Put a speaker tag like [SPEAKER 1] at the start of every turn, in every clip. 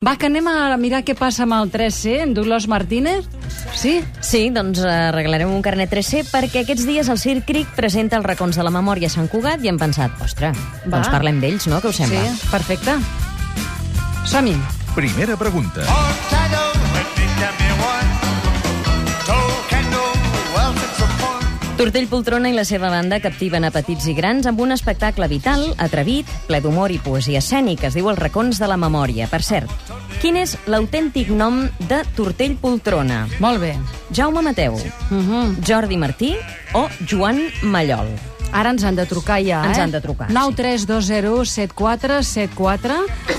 [SPEAKER 1] Va, que anem a mirar què passa amb el 3C, en Dolors Martínez. Sí?
[SPEAKER 2] Sí, doncs eh, arreglarem un carnet 3C perquè aquests dies el Circ Cric presenta els racons de la memòria a Sant Cugat i hem pensat, ostres,
[SPEAKER 1] Va.
[SPEAKER 2] doncs parlem d'ells, no?, què us sembla?
[SPEAKER 1] Sí, perfecte. Som-hi.
[SPEAKER 3] Primera pregunta.
[SPEAKER 2] Tortell Poltrona i la seva banda captiven a petits i grans amb un espectacle vital, atrevit, ple d'humor i poesia escènica. Es diu Els racons de la memòria. Per cert, quin és l'autèntic nom de Tortell Poltrona?
[SPEAKER 1] Molt bé.
[SPEAKER 2] Jaume Mateu,
[SPEAKER 1] Uh -huh.
[SPEAKER 2] Jordi Martí o Joan Mallol?
[SPEAKER 1] Ara ens han de trucar ja,
[SPEAKER 2] Ens
[SPEAKER 1] eh?
[SPEAKER 2] han de trucar, sí.
[SPEAKER 1] 9 3 2 0 7 4 7 4.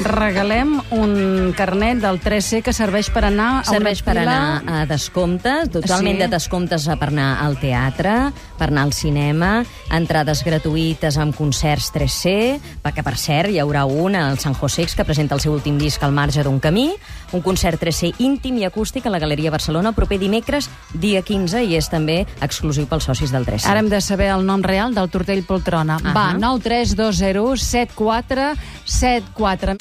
[SPEAKER 1] Regalem un carnet del 3C que serveix per anar a
[SPEAKER 2] Serveix
[SPEAKER 1] una
[SPEAKER 2] per
[SPEAKER 1] pila...
[SPEAKER 2] anar a descomptes, totalment
[SPEAKER 1] Sí.
[SPEAKER 2] de descomptes per anar al teatre, per anar al cinema, entrades gratuïtes amb concerts 3C, perquè per cert hi haurà un al San Josex que presenta el seu últim disc al marge d'un camí, un concert 3C íntim i acústic a la Galeria Barcelona el proper dimecres, dia 15, i és també exclusiu pels socis del 3C.
[SPEAKER 1] Ara hem de saber el nom real del tortell poltrona. Uh -huh. Va,
[SPEAKER 2] Ahà.
[SPEAKER 1] 9 3 2 0 7 4 7 4.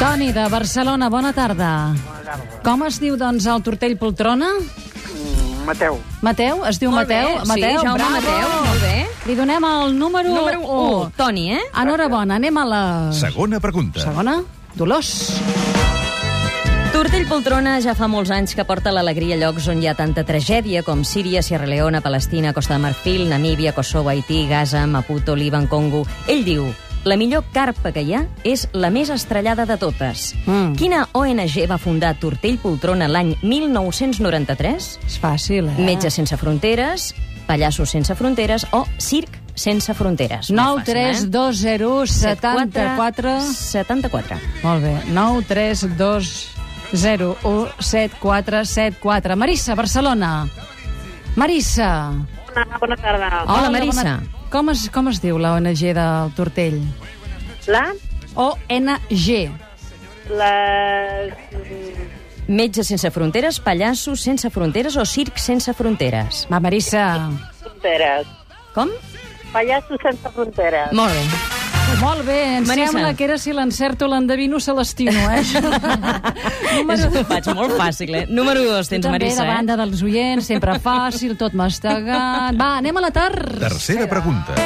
[SPEAKER 1] Toni, de Barcelona, bona tarda. Com es diu, doncs, el tortell poltrona?
[SPEAKER 4] Mm, Mateu.
[SPEAKER 1] Mateu? Es diu
[SPEAKER 2] Molt bé,
[SPEAKER 1] Mateu?
[SPEAKER 2] sí,
[SPEAKER 1] Mateu,
[SPEAKER 2] Jaume
[SPEAKER 1] bravo.
[SPEAKER 2] Mateu, molt bé.
[SPEAKER 1] Li donem el número,
[SPEAKER 2] Número 1, Toni, eh?
[SPEAKER 1] Enhorabona, anem a la...
[SPEAKER 3] Segona pregunta.
[SPEAKER 1] Segona? Dolors.
[SPEAKER 2] Tortell Poltrona ja fa molts anys que porta l'alegria a llocs on hi ha tanta tragèdia com Síria, Sierra Leona, Palestina, Costa de Marfil, Namíbia, Kosovo, Haití, Gaza, Maputo, Líban, Congo... Ell diu... La millor carpa que hi ha és la més estrellada de totes.
[SPEAKER 1] Mm.
[SPEAKER 2] Quina ONG va fundar Tortell Poltrona l'any 1993?
[SPEAKER 1] És fàcil, eh?
[SPEAKER 2] Metges sense fronteres, Pallassos sense fronteres o Circ sense fronteres. Molt
[SPEAKER 1] 9 3
[SPEAKER 2] fàcil, eh?
[SPEAKER 1] 2 0 74...
[SPEAKER 2] 74.
[SPEAKER 1] Molt bé. 9 3 2 0 1 7 4 7 4. Marissa, Barcelona. Marissa.
[SPEAKER 5] Hola, bona tarda.
[SPEAKER 2] Hola, Marissa.
[SPEAKER 1] bona- Com es, com es diu la ONG del Tortell?
[SPEAKER 5] La,
[SPEAKER 1] ONG.
[SPEAKER 5] la...
[SPEAKER 2] Metges sense fronteres, pallassos sense fronteres o circ sense fronteres.
[SPEAKER 1] Va, Marissa.
[SPEAKER 5] Fronteres.
[SPEAKER 2] Com?
[SPEAKER 5] Pallassos sense fronteres.
[SPEAKER 2] Molt bé.
[SPEAKER 1] Molt bé, em
[SPEAKER 2] Marissa.
[SPEAKER 1] sembla que era si l'encerto l'endevino Celestino, eh?
[SPEAKER 2] Número... Ho faig molt fàcil, eh? Número 2 tens,
[SPEAKER 1] També
[SPEAKER 2] Marissa, eh?
[SPEAKER 1] davant de dels oients, sempre fàcil, tot mastegat. Va, anem a la tarda.
[SPEAKER 3] Tercera pregunta.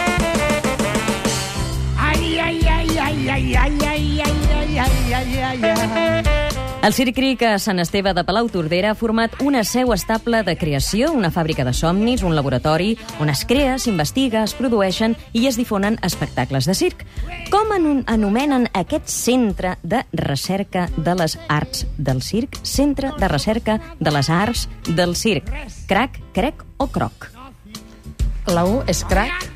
[SPEAKER 2] eh? El Circ Cric a Sant Esteve de Palau Tordera ha format una seu estable de creació, una fàbrica de somnis, un laboratori, on es crea, s'investiga, es produeixen i es difonen espectacles de circ. Com anon- anomenen aquest centre de recerca de les arts del circ? Centre de recerca de les arts del circ. Crac, crec o croc?
[SPEAKER 1] La 1 és crac,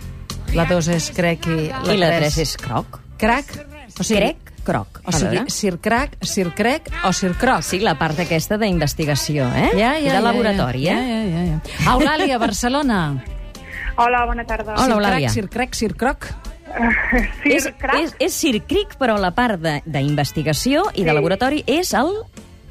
[SPEAKER 1] la 2 és crec i la,
[SPEAKER 2] I la
[SPEAKER 1] 3
[SPEAKER 2] 3 és croc.
[SPEAKER 1] crac. O sigui,
[SPEAKER 2] crec, croc.
[SPEAKER 1] O sigui,
[SPEAKER 2] Perdona.
[SPEAKER 1] Sir Crac, Sir Crec o Sir Croc.
[SPEAKER 2] Sí, la part aquesta d'investigació, eh? I de laboratori,
[SPEAKER 1] ja,
[SPEAKER 2] eh?
[SPEAKER 1] Ja, ja, ja. Eulàlia, Barcelona.
[SPEAKER 6] Hola, bona tarda.
[SPEAKER 2] Hola, Eulàlia.
[SPEAKER 1] Sir Crac, Sir Croc.
[SPEAKER 6] Sí,
[SPEAKER 2] És,
[SPEAKER 6] crac,
[SPEAKER 2] és, és circric, però la part de- d'investigació i de laboratori és el...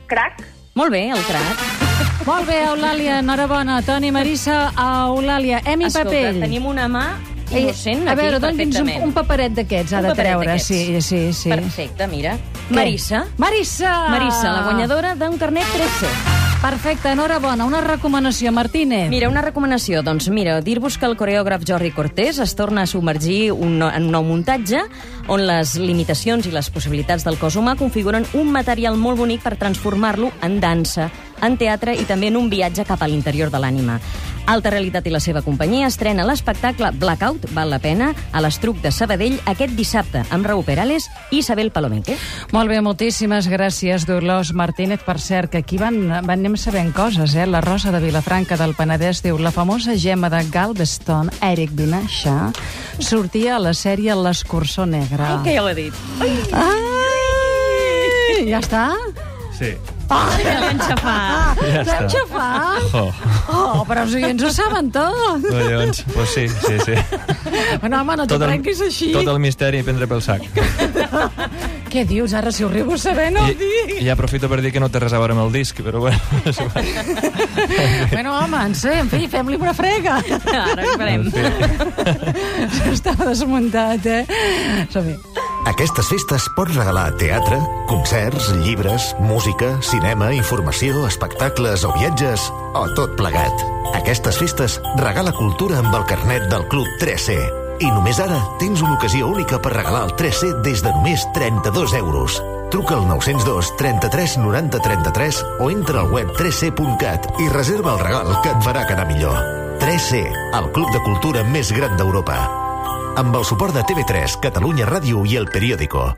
[SPEAKER 6] crac.
[SPEAKER 2] Molt bé, el crac.
[SPEAKER 1] Molt bé, Eulàlia, enhorabona. Toni, Marissa, Eulàlia. Emi Papell.
[SPEAKER 2] tenim una mà
[SPEAKER 1] Ei,
[SPEAKER 2] innocent
[SPEAKER 1] Eh, a veure,
[SPEAKER 2] aquí,
[SPEAKER 1] doni'ns un,
[SPEAKER 2] perfectament.
[SPEAKER 1] un paperet d'aquests, ha
[SPEAKER 2] Un
[SPEAKER 1] de
[SPEAKER 2] paperet
[SPEAKER 1] treure.
[SPEAKER 2] d'aquests.
[SPEAKER 1] Sí, sí, sí.
[SPEAKER 2] Perfecte, mira.
[SPEAKER 1] Què? Ah.
[SPEAKER 2] Marissa.
[SPEAKER 1] Marissa!
[SPEAKER 2] Marissa, la guanyadora d'un carnet 3C.
[SPEAKER 1] Perfecte, enhorabona. Una recomanació, Martínez.
[SPEAKER 2] Mira, una recomanació, doncs mira, dir-vos que el coreògraf Jordi Cortés es torna a submergir un no, en un nou muntatge on les limitacions i les possibilitats del cos humà configuren un material molt bonic per transformar-lo en dansa, en teatre i també en un viatge cap a l'interior de l'ànima. Alta Realitat i la seva companyia estrena l'espectacle Blackout, val la pena, a l'Estruc de Sabadell aquest dissabte amb Raúl Perales i Isabel Palomenque.
[SPEAKER 1] Molt bé, moltíssimes gràcies, Dolors Martínez. Per cert, que aquí van, van anem sabent coses, eh? La Rosa de Vilafranca del Penedès diu la famosa gemma de Galveston, Eric Vinaixa, sortia a la sèrie L'escurçó negre.
[SPEAKER 2] ja ho he dit.
[SPEAKER 1] Ai, ja està?
[SPEAKER 7] Sí.
[SPEAKER 2] Ai, ja l'he enxafat.
[SPEAKER 7] Ja està.
[SPEAKER 1] Xafat!
[SPEAKER 7] Oh,
[SPEAKER 1] Oh, però els oients ho saben tot.
[SPEAKER 7] collons. Pues sí, sí, sí.
[SPEAKER 1] Bueno, home, no t'ho prenguis així.
[SPEAKER 7] tot el misteri i prendre pel sac.
[SPEAKER 1] Què dius ara? Si ho arribo a saber, no ho dic.
[SPEAKER 7] I, I aprofito per dir que no té res a veure amb el disc, però bueno... és igual.
[SPEAKER 1] Bueno, home, en sé, en fi, fem-li una frega.
[SPEAKER 2] Ara ho farem.
[SPEAKER 7] En fi.
[SPEAKER 1] Estava desmuntat, eh? Som-hi.
[SPEAKER 8] Aquestes festes pots regalar teatre, concerts, llibres, música, cinema, informació, espectacles o viatges, o tot plegat. Aquestes festes regala cultura amb el carnet del Club 3C. I només ara tens una ocasió única per regalar el 3C des de només 32 euros. Truca al 902 33 90 33 o entra al web 3c.cat i reserva el regal que et farà quedar millor. 3C, el club de cultura més gran d'Europa. Amb el suport de TV3, Catalunya Ràdio i El Periódico.